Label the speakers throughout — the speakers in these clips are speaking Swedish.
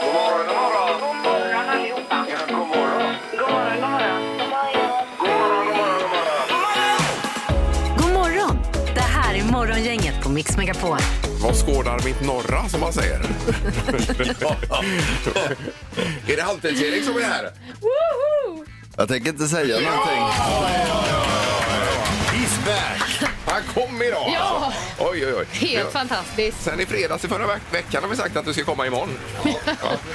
Speaker 1: God morgon, god morgon.
Speaker 2: God morgon allihopa.
Speaker 1: Ja, god morgon.
Speaker 2: God morgon, god morgon.
Speaker 3: God
Speaker 1: God morgon, god morgon, god morgon.
Speaker 3: morgon! Det här är Morgongänget på Mix Megapol.
Speaker 4: Vad skådar mitt norra som man säger? är det halvtids-Erik som är här?
Speaker 5: Jag tänker inte säga någonting.
Speaker 4: He's back! Han kom idag!
Speaker 6: Ja.
Speaker 4: alltså. Oj, oj, oj.
Speaker 6: Helt
Speaker 4: Ja.
Speaker 6: fantastiskt.
Speaker 4: Sen i fredags i förra veck- veckan har vi sagt att du ska komma imorgon.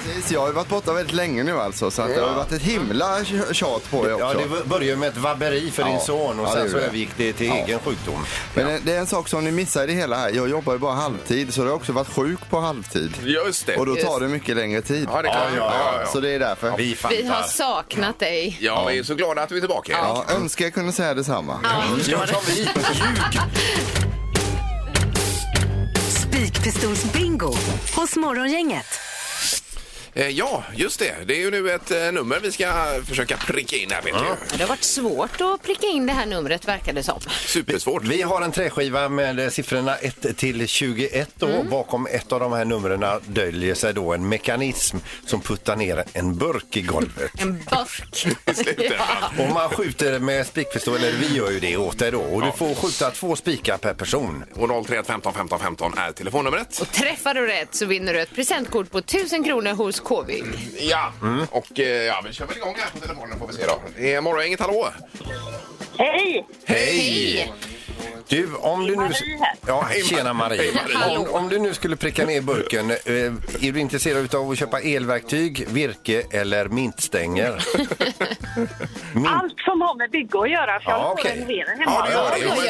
Speaker 5: Precis, jag har ju varit borta väldigt länge nu alltså så att det har ju varit ett himla tjat på det också.
Speaker 7: Ja, det var- började med ett vabberi för din
Speaker 5: Ja.
Speaker 7: son och
Speaker 5: Ja, det
Speaker 7: sen så
Speaker 5: gjorde det.
Speaker 7: övergick det till egen sjukdom.
Speaker 5: Men det- det är en sak som ni missar i det hela här. Jag jobbar ju bara halvtid så det har också varit sjuk på halvtid.
Speaker 4: Just det.
Speaker 5: Och då tar det mycket längre tid.
Speaker 4: Ja, det kan
Speaker 7: Ja, ja,
Speaker 4: ja, ja.
Speaker 5: Så det är därför.
Speaker 7: Vi
Speaker 6: Vi har
Speaker 7: fattar.
Speaker 6: saknat dig.
Speaker 4: Ja, vi är så glada att vi är tillbaka. Erik.
Speaker 5: Ja, önskar jag kunde säga detsamma.
Speaker 7: Gör som vi. Ljug.
Speaker 3: Spikpistolsbingo hos Morgongänget.
Speaker 4: Eh, Ja, just det. Det är ju nu ett eh, nummer vi ska försöka pricka in här, vet du.
Speaker 6: Det har varit svårt att pricka in det här numret verkar det som.
Speaker 4: Supersvårt.
Speaker 7: Vi har en träskiva med eh, siffrorna 1 till 21 då. Bakom ett av de här numren döljer sig då en mekanism som puttar ner en burk i golvet.
Speaker 6: En burk.
Speaker 4: Sluta.
Speaker 7: Och man skjuter med spikpistol, eller vi gör ju det åt dig då. Och du får skjuta två spikar per person.
Speaker 4: Och 031 15 15 15 är telefonnumret.
Speaker 6: Träffar du rätt så vinner du ett presentkort på 1000 kronor hos K-bygg.
Speaker 4: Ja, och eh, ja, vi kör väl igång här på telefonen får vi se då. Det är morgongänget, hallå!
Speaker 2: Hej!
Speaker 7: Hej! Du, om du nu...
Speaker 2: Marie här.
Speaker 7: Ja, tjena Marie.
Speaker 4: Hej, Marie.
Speaker 7: Om, om du nu skulle pricka ner burken, eh, är du intresserad av att köpa elverktyg, virke eller mintstänger? Mint.
Speaker 2: Allt som har med bygge att göra, för jag
Speaker 7: Ja,
Speaker 2: håller på
Speaker 7: okej.
Speaker 2: att renovera
Speaker 4: Mm. Ja,
Speaker 2: hemma.
Speaker 4: det var
Speaker 6: Ja,
Speaker 4: det.
Speaker 6: ja, ja,
Speaker 4: Det var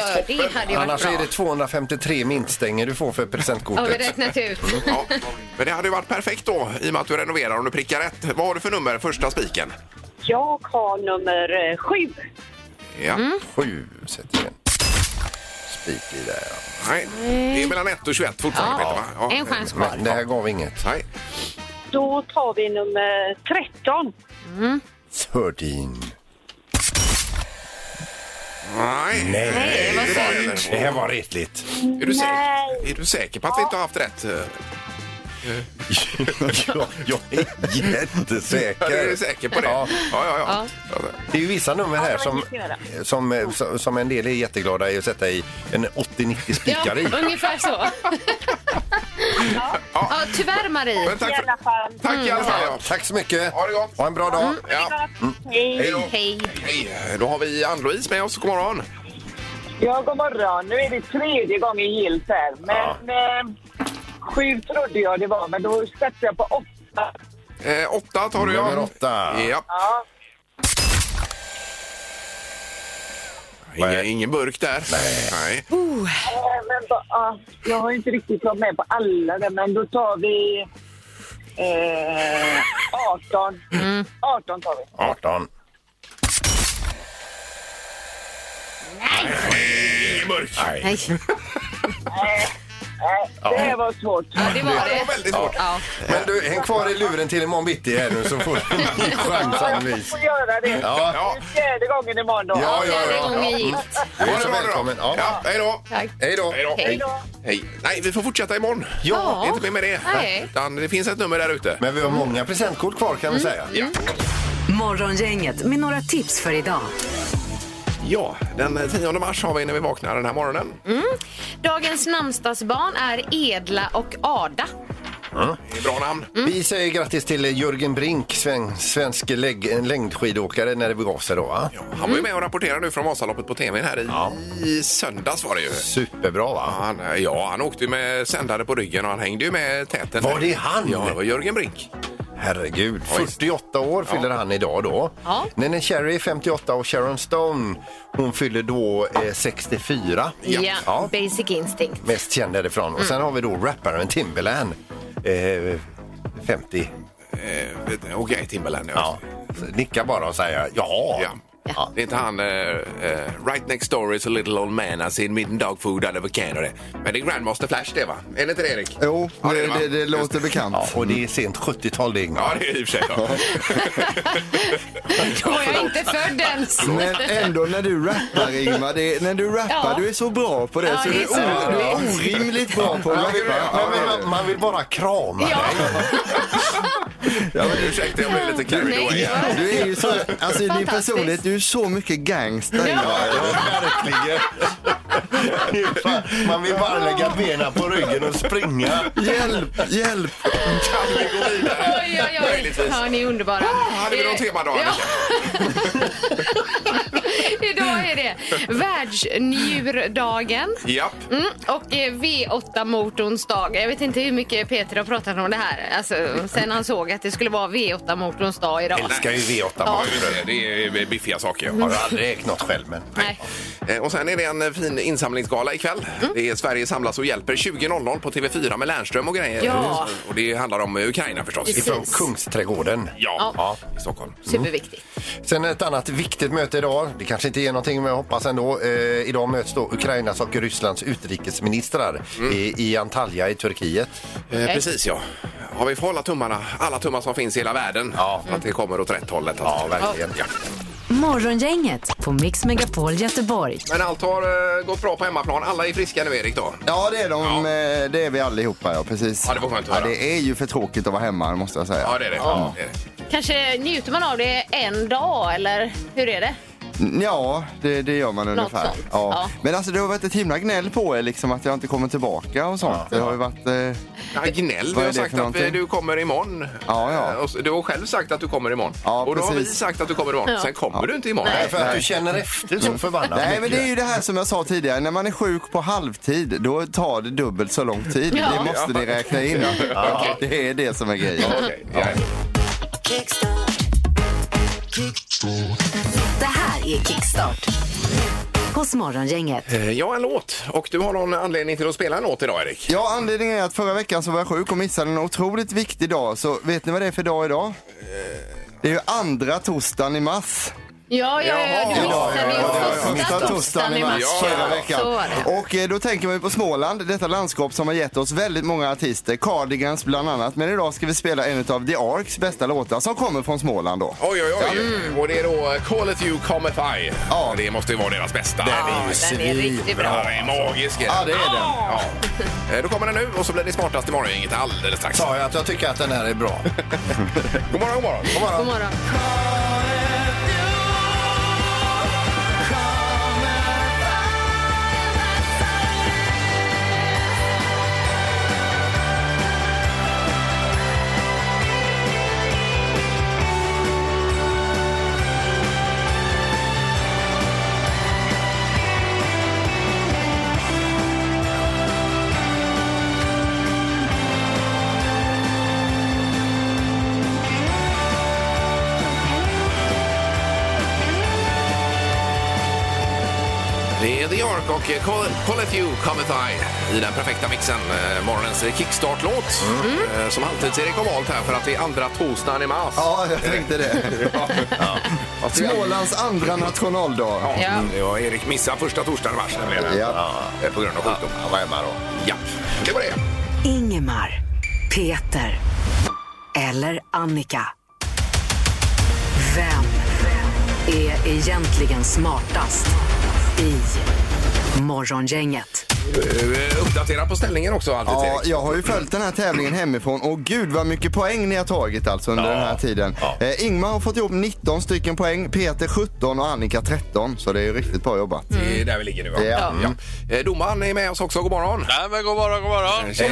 Speaker 6: det hade ju varit
Speaker 7: Annars är
Speaker 6: bra.
Speaker 7: det 253 mintstänger du får för
Speaker 6: Har vi
Speaker 7: presentkortet.
Speaker 6: räknat ut?
Speaker 4: Ja, men det hade ju varit perfekt då i och med att du renoverar om du prickar rätt. Vad har du för nummer, första spiken?
Speaker 2: Jag har nummer eh, sju.
Speaker 4: Ja.
Speaker 6: Mm.
Speaker 7: Sju sätter vi en spik i där. ja.
Speaker 4: Nej, det är mellan 1 och 21 fortfarande
Speaker 6: Ja,
Speaker 4: Peter, va?
Speaker 6: en chans kvar.
Speaker 7: Men det här gav inget.
Speaker 4: Nej.
Speaker 2: Då tar vi nummer 13.
Speaker 7: 13.
Speaker 4: Nej.
Speaker 7: Nej,
Speaker 4: Är det det, eller?
Speaker 7: det här var retligt.
Speaker 4: Är du, säker?
Speaker 2: Nej.
Speaker 4: är du säker på att vi inte har haft rätt?
Speaker 7: jag, jag är
Speaker 4: Ja, du är
Speaker 7: jättesäker.
Speaker 4: säker på det?
Speaker 7: Ja.
Speaker 4: ja, ja. ja. ja.
Speaker 7: Det är ju vissa nummer här
Speaker 2: Ja,
Speaker 7: som,
Speaker 2: det kan jag
Speaker 7: som, eh, som, som en del är jätteglada i att sätta i en 80-90
Speaker 6: Ja,
Speaker 7: spikar i.
Speaker 6: ungefär så. Ja, tyvärr Marie.
Speaker 4: Men tack,
Speaker 2: I
Speaker 4: för,
Speaker 2: alla fall. Mm.
Speaker 4: tack i alla fall.
Speaker 7: Ja,
Speaker 4: Ja.
Speaker 7: tack så mycket.
Speaker 4: Ha det gott.
Speaker 7: Ha en bra dag.
Speaker 4: Ja. Mm.
Speaker 2: Hej.
Speaker 4: då.
Speaker 6: Hej.
Speaker 4: Hej. Då har vi Ann-Louise med oss. God morgon.
Speaker 8: Ja, god morgon. Nu är det tredje gången gillt här. Men eh, sju trodde jag det var, men då satte jag på åtta.
Speaker 4: Eh, åtta tar du, ja.
Speaker 7: Nummer åtta.
Speaker 4: Ja.
Speaker 8: Ja.
Speaker 4: Ingen, ingen burk där. Nej.
Speaker 8: Eh, Men, ba- ja, jag har inte riktigt varit med på alla där, men då tar vi eh, 18.
Speaker 2: Mm.
Speaker 8: 18 tar vi.
Speaker 7: 18.
Speaker 4: Ingen burk. Nej.
Speaker 6: Nej.
Speaker 8: Det här var svårt.
Speaker 6: Ja, det var
Speaker 4: Det var
Speaker 6: det.
Speaker 4: väldigt svårt.
Speaker 6: Ja.
Speaker 7: Men du, häng kvar i luren till imorgon bitti här nu så får du en ny chans
Speaker 8: Jag
Speaker 7: Ann-Louise.
Speaker 8: får göra det.
Speaker 7: Ja.
Speaker 4: Ja.
Speaker 8: Det är fjärde gången imorgon då.
Speaker 7: Ja, ja,
Speaker 6: Fjärde
Speaker 7: ja.
Speaker 6: gången gick.
Speaker 7: Du är
Speaker 4: Ha det
Speaker 7: så
Speaker 4: bra nu då.
Speaker 7: välkommen. Ja.
Speaker 4: Ja, hej då.
Speaker 6: Tack.
Speaker 7: Hej då.
Speaker 4: Hej då.
Speaker 6: Hej.
Speaker 4: Hej. Nej, vi får fortsätta imorgon.
Speaker 7: Ja.
Speaker 4: Inte mer med det.
Speaker 6: Nej.
Speaker 4: Utan det finns ett nummer där ute.
Speaker 7: Men vi har många presentkort kvar kan vi säga.
Speaker 4: Ja.
Speaker 3: Morgongänget med några tips för idag.
Speaker 4: ja,
Speaker 7: eh,
Speaker 4: den 10 mars har vi när vi vaknar den här morgonen.
Speaker 6: Mm. Dagens namnsdagsbarn är Edla och Ada.
Speaker 4: Det är Bra namn.
Speaker 7: Vi säger grattis till Jörgen Brink, sven- svensk lägg- längdskidåkare, när det begav sig då. Va?
Speaker 4: Han
Speaker 6: Mm.
Speaker 4: var ju med och rapporterade nu från Vasaloppet på tv här i, i söndags var det ju.
Speaker 7: Superbra va?
Speaker 4: Han, eh, ja, han åkte ju med sändare på ryggen och han hängde ju med täten.
Speaker 7: Var det han?
Speaker 4: Ja, det var Jörgen Brink.
Speaker 7: Herregud, 48 år fyller han idag då.
Speaker 6: Ja.
Speaker 7: Neneh Cherry 58 och Sharon Stone, hon fyller då eh, 64.
Speaker 6: Ja, Basic Instinct.
Speaker 7: Mest känd därifrån. Och sen har vi då rapparen Timberland, eh, 50.
Speaker 4: Eh, vet- Okej, Timberland. Ja.
Speaker 7: Ja. Nicka bara och säga ja.
Speaker 4: Ja.
Speaker 6: Ja, ja.
Speaker 4: Det är inte han... eh, eh, right next door is a little old man. I seen midden dog food under the can. och det. Men det är Grandmaster Flash det va? Är det inte det Erik?
Speaker 5: Jo,
Speaker 4: Ja,
Speaker 5: det,
Speaker 4: va?
Speaker 5: det, det låter bekant.
Speaker 7: Ja, och det är sent 70-tal det Ingmar.
Speaker 4: Ja, det är i och för sig. Ja.
Speaker 6: Då är jag inte född ens.
Speaker 5: Men ändå när du rappar Ingmar, det, när du rappar,
Speaker 6: Ja.
Speaker 5: du är så bra på det.
Speaker 6: Ja,
Speaker 5: så
Speaker 6: det
Speaker 5: du,
Speaker 6: är
Speaker 5: är
Speaker 6: så
Speaker 5: o- du är
Speaker 6: roligt.
Speaker 5: orimligt bra på att
Speaker 7: Man vill,
Speaker 5: rappa.
Speaker 7: man, vill, man vill bara krama
Speaker 6: Ja.
Speaker 4: Ja, men ursäkta, jag blev lite carried
Speaker 6: Nej.
Speaker 4: away. här.
Speaker 5: Du är ju så, alltså din
Speaker 6: Fantastiskt.
Speaker 5: personlighet, du är så mycket gangster Ingmar.
Speaker 7: Ja, verkligen. Man vill bara lägga benen på ryggen och springa.
Speaker 5: Hjälp, hjälp!
Speaker 4: Kan vi gå vidare?
Speaker 6: Oj, oj, oj.
Speaker 4: Möjligtvis.
Speaker 6: Ja, ni är underbara.
Speaker 4: hade vi någon temadag,
Speaker 6: Ja. Idag är det världsnjurdagen.
Speaker 4: Japp.
Speaker 6: Mm, och eh, V8-motorns dag. Jag vet inte hur mycket Peter har pratat om det här alltså, sen han såg att det skulle vara V8-motorns dag idag.
Speaker 7: Älskar ju V8
Speaker 4: Ja,
Speaker 7: bara.
Speaker 4: just det. det är biffiga saker.
Speaker 7: Har du aldrig ägt något själv men.
Speaker 6: Nej.
Speaker 4: Eh, Och sen är det en eh, fin insamlingsgala ikväll. Det är Sverige samlas och hjälper 20.00 på TV4 med Lernström och grejer.
Speaker 6: Ja.
Speaker 4: Och det handlar om eh, Ukraina förstås.
Speaker 6: Precis.
Speaker 7: Ifrån Kungsträdgården.
Speaker 4: Ja,
Speaker 7: Ja.
Speaker 4: i Stockholm.
Speaker 6: Superviktigt.
Speaker 7: Sen ett annat viktigt möte idag. Det kanske inte ger någonting men jag hoppas ändå. Eh, idag möts då Ukrainas och Rysslands utrikesministrar i, i Antalya i Turkiet.
Speaker 4: Eh, precis ja. Har vi får hålla tummarna, alla tummar som finns i hela världen,
Speaker 7: Ja.
Speaker 4: att det kommer åt rätt hållet. Alltså. Ja,
Speaker 7: verkligen.
Speaker 3: Morgongänget på Mix Megapol Göteborg.
Speaker 4: Men allt har eh, gått bra på hemmaplan. Alla är friska nu, Erik. då.
Speaker 5: Ja det är, de, eh, det är vi allihopa ja, precis.
Speaker 4: Ja, det var skönt
Speaker 5: ja,
Speaker 4: att höra.
Speaker 5: det är ju för tråkigt att vara hemma måste jag säga.
Speaker 4: Ja, det är det. Ja. det, är det.
Speaker 6: Kanske njuter man av det en dag, eller hur är det?
Speaker 5: Mm, Ja, det, det gör man ungefär.
Speaker 6: sånt.
Speaker 5: Ja.
Speaker 6: Ja.
Speaker 5: Men alltså det har varit ett himla gnäll på er liksom att jag inte kommer tillbaka och sånt. Det har ju varit... Eh,
Speaker 4: Ja, gnäll. Vi
Speaker 5: Vad är
Speaker 4: har
Speaker 5: det
Speaker 4: sagt
Speaker 5: för
Speaker 4: att
Speaker 5: någonting?
Speaker 4: eh, du kommer imorgon.
Speaker 5: Ja, ja.
Speaker 4: Eh, och så- Du har själv sagt att du kommer imorgon.
Speaker 5: Ja,
Speaker 4: och då har vi
Speaker 5: precis.
Speaker 4: sagt att du kommer imorgon. Sen kommer du inte imorgon.
Speaker 7: Nej, för att du känner efter så förbannat
Speaker 5: nej men
Speaker 7: mycket.
Speaker 5: det är ju det här som jag sa tidigare, när man är sjuk på halvtid då tar det dubbelt så lång tid.
Speaker 6: Ja.
Speaker 5: Det måste ni räkna in. Det är det som är grejen.
Speaker 4: Okej, ja.
Speaker 3: Det här är Kickstart hos Morgongänget.
Speaker 4: Eh, Ja, en låt. Och du har någon anledning till att spela en låt idag, Erik?
Speaker 5: Ja, anledningen är att förra veckan så var jag sjuk och missade en otroligt viktig dag. Så vet ni vad det är för dag idag?
Speaker 4: Eh.
Speaker 5: Det är ju andra torsdagen i mars.
Speaker 6: Ja, ja, ja. Du
Speaker 4: Jaha.
Speaker 6: missade
Speaker 5: Ja, det har jag.
Speaker 6: ju första torsdagen i mars.
Speaker 4: mars
Speaker 5: förra veckan.
Speaker 6: Så var det.
Speaker 5: Och eh, då tänker vi på Småland, detta landskap som har gett oss väldigt många artister. Cardigans bland annat. Men idag ska vi spela en av The Arks bästa låtar som kommer från Småland då.
Speaker 4: Oj, oj, oj. Mm. Och det är då eh, Call It You Come If I. Ja. Det måste ju vara deras bästa. Den
Speaker 6: Ja, den är riktigt bra.
Speaker 4: Den är magisk. är den.
Speaker 5: Ja, det är den.
Speaker 4: Ja. Eh, Då kommer den nu och så blir det smartast i morgon. Inget alldeles strax.
Speaker 7: Sa jag att jag tycker att den här är bra?
Speaker 4: God morgon, god morgon.
Speaker 6: God morgon.
Speaker 4: Det är The Ark och eh, Call, Call It You Come If I i den perfekta mixen. Eh, Morgonens eh, kickstart-låt. Eh, Som alltid Erik har valt här för att det är andra torsdagen i mars.
Speaker 5: Ja, jag tänkte det. Smålands andra nationaldag.
Speaker 6: Ja.
Speaker 4: Ja, Erik missade första torsdagen i mars nämligen.
Speaker 5: Ja.
Speaker 4: Eh, På grund av sjukdom.
Speaker 7: Ja, vad är man då?
Speaker 4: Ja, det var det.
Speaker 3: Ingemar, Peter eller Annika. Vem är egentligen smartast i Morgongänget?
Speaker 4: Eh, Uppdatera på ställningen också alltid
Speaker 5: Ja,
Speaker 4: Erik.
Speaker 5: jag har ju följt den här tävlingen hemifrån och gud vad mycket poäng ni har tagit alltså under den här tiden.
Speaker 7: Ja.
Speaker 5: Eh, Ingmar har fått ihop 19 stycken poäng, Peter 17 och Annika 13. Så det är ju riktigt bra jobbat.
Speaker 4: Det är där vi ligger nu. va?
Speaker 5: Ja.
Speaker 4: Ja. Eh, Domaren är med oss också. God morgon.
Speaker 9: Nej men god morgon, god morgon.
Speaker 4: Hej.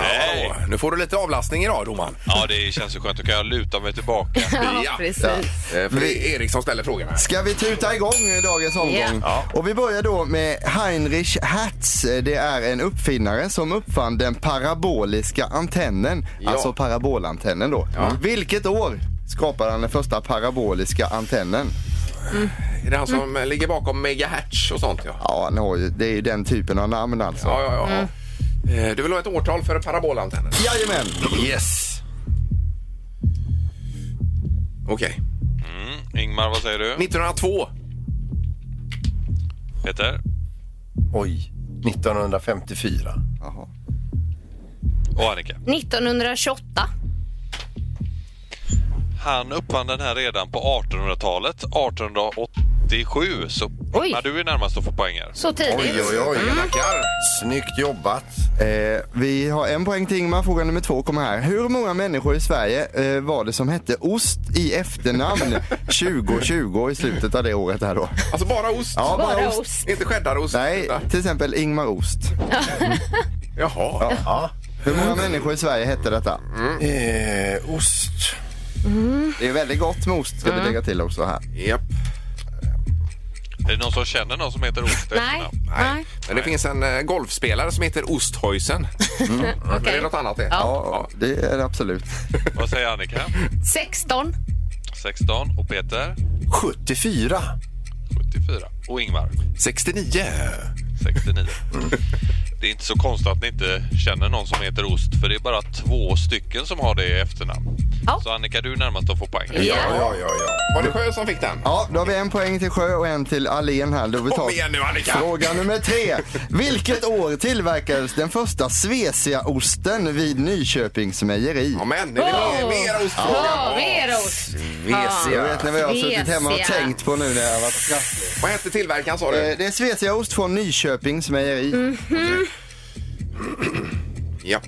Speaker 9: Hej.
Speaker 4: Ja, Nu får du lite avlastning idag domaren.
Speaker 9: Ja det känns så skönt, då kan jag luta mig tillbaka.
Speaker 6: Ja, precis.
Speaker 4: Eh, För det är Erik som ställer frågorna.
Speaker 5: Ska vi tuta igång dagens omgång?
Speaker 6: Ja.
Speaker 5: Och vi börjar då med Heinrich Hertz. Det är en uppfinnare som uppfann den paraboliska antennen,
Speaker 4: Ja.
Speaker 5: alltså parabolantennen då. Vilket år skapade han den första paraboliska antennen?
Speaker 4: Är det han som
Speaker 6: Mm.
Speaker 4: eh, ligger bakom megahertz och sånt? Ja,
Speaker 5: Ja, han har ju- det är ju den typen av namn alltså.
Speaker 4: ja, ja. ja.
Speaker 6: Mm.
Speaker 4: Eh, Du vill ha ett årtal för parabolantennen?
Speaker 5: Jajamän!
Speaker 7: Yes.
Speaker 4: Okej.
Speaker 9: Ingmar, vad säger du?
Speaker 4: 1902.
Speaker 9: Peter?
Speaker 7: Oj, 1954.
Speaker 5: Jaha.
Speaker 9: Och Annika?
Speaker 6: 1928.
Speaker 9: Han uppfann den här redan på 1800-talet. 1887. Så
Speaker 6: Oj.
Speaker 9: Ja, du är närmast att få poäng här.
Speaker 6: Så tidigt.
Speaker 7: Oj, oj, oj.
Speaker 4: Tackar.
Speaker 7: Snyggt jobbat.
Speaker 5: Eh, vi har en poäng till Ingmar. Fråga nummer två kommer här. Hur många människor i Sverige eh, var det som hette Ost i efternamn 2020 i slutet av det året här då?
Speaker 4: Alltså bara ost?
Speaker 5: Ja,
Speaker 6: Bara
Speaker 5: bara ost.
Speaker 6: ost.
Speaker 4: Inte cheddarost?
Speaker 5: Nej,
Speaker 4: utan-
Speaker 5: till exempel Ingmar Ost.
Speaker 4: Jaha.
Speaker 7: Ja.
Speaker 5: Hur många
Speaker 4: Mm.
Speaker 5: människor i Sverige hette detta?
Speaker 7: Eh, ost.
Speaker 5: Det är väldigt gott med ost ska
Speaker 4: Mm.
Speaker 5: vi lägga till också här.
Speaker 4: Japp.
Speaker 9: Är det någon som känner någon som heter Ost?
Speaker 6: Nej.
Speaker 4: Nej. Men det finns en eh, golfspelare som heter Osthuisen.
Speaker 7: Mm.
Speaker 4: Men Det är något annat det.
Speaker 6: Ja.
Speaker 5: Ja, det är det absolut.
Speaker 9: Vad säger Annika?
Speaker 6: 16.
Speaker 9: 16. Och Peter?
Speaker 7: 74.
Speaker 9: 74. Och Ingmar?
Speaker 4: 69.
Speaker 9: 69. Det är inte så konstigt att ni inte känner någon som heter Ost, för det är bara två stycken som har det i efternamn.
Speaker 6: Ja.
Speaker 9: Så Annika, du är närmast att få poäng.
Speaker 6: Ja.
Speaker 7: Ja, ja, ja.
Speaker 4: Var det Sjö som fick den?
Speaker 5: Ja, då har vi en poäng till Sjö och en till Allén här. Då vi tar
Speaker 4: Kom igen nu, Annika.
Speaker 5: Fråga nummer tre. Vilket år tillverkades den första Svesia-osten vid Nyköpings mejeri?
Speaker 4: Ja, men det är
Speaker 6: Oh.
Speaker 4: mer ostfråga.
Speaker 6: Ja, mer ost.
Speaker 5: Jag vet ni vad jag har suttit hemma och
Speaker 6: Svesia.
Speaker 5: tänkt på nu när jag har varit krasslig?
Speaker 4: Vad hette tillverkaren sa du?
Speaker 5: Eh, Det är Svesia-ost från Nyköpings mejeri.
Speaker 6: Mm.
Speaker 4: Japp.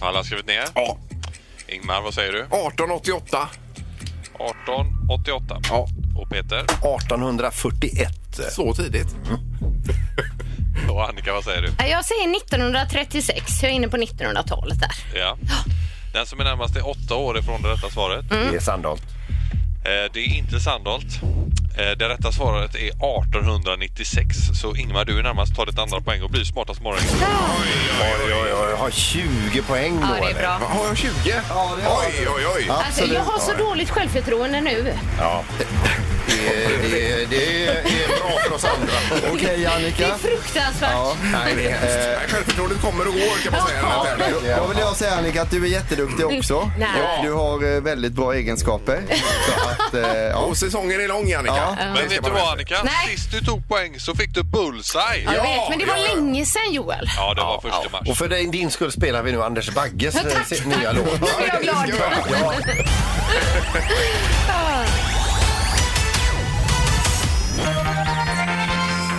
Speaker 9: Alla har skrivit ner?
Speaker 4: Ja.
Speaker 9: Ingmar, vad säger du?
Speaker 4: 1888.
Speaker 9: 1888.
Speaker 4: Ja.
Speaker 9: Och Peter?
Speaker 7: 1841.
Speaker 4: Så tidigt.
Speaker 9: Och Annika, vad säger du?
Speaker 6: Ja, Jag säger 1936. Jag är inne på 1900-talet där.
Speaker 9: Ja. Den som är närmast är åtta år ifrån det rätta svaret.
Speaker 7: Det är Sandholt.
Speaker 9: Eh, Det är inte Sandholt. Eh, Det rätta svaret är 1896. Så Ingmar, du är närmast. Ta ditt andra poäng och bli smartast morgon.
Speaker 7: Oj, oj, oj. Har 20 poäng då,
Speaker 6: Ja, det är
Speaker 7: eller?
Speaker 6: bra.
Speaker 4: Har jag 20?
Speaker 5: Ja, det har
Speaker 4: oj, oj, oj.
Speaker 6: Alltså, jag har så dåligt självförtroende nu.
Speaker 7: Ja. Det, det, det är bra för oss andra.
Speaker 5: Okej,
Speaker 6: Det
Speaker 5: Annika.
Speaker 6: är fruktansvärt.
Speaker 5: Ja.
Speaker 4: Nej, det är hemskt. Eh, Nej, Självförtroendet kommer och går kan man säga.
Speaker 5: Ja,
Speaker 4: Ja.
Speaker 5: då- då vill jag säga Annika att du är jätteduktig också.
Speaker 6: Nej.
Speaker 5: Och Du har eh, väldigt bra egenskaper. Så att, eh, ja.
Speaker 4: Och säsongen är lång, Annika.
Speaker 5: Ja.
Speaker 9: Men vet du vad Annika?
Speaker 6: Nej.
Speaker 9: Sist du tog poäng så fick du bullseye.
Speaker 6: Ja, jag vet, men det var
Speaker 4: ja, ja.
Speaker 6: länge sedan Joel.
Speaker 9: Ja, det var första mars.
Speaker 7: Och för dig, din skull spelar vi nu Anders Bagges
Speaker 6: Ja, tack.
Speaker 7: eh, nya låt.
Speaker 6: Nu är jag glad.
Speaker 7: Ja,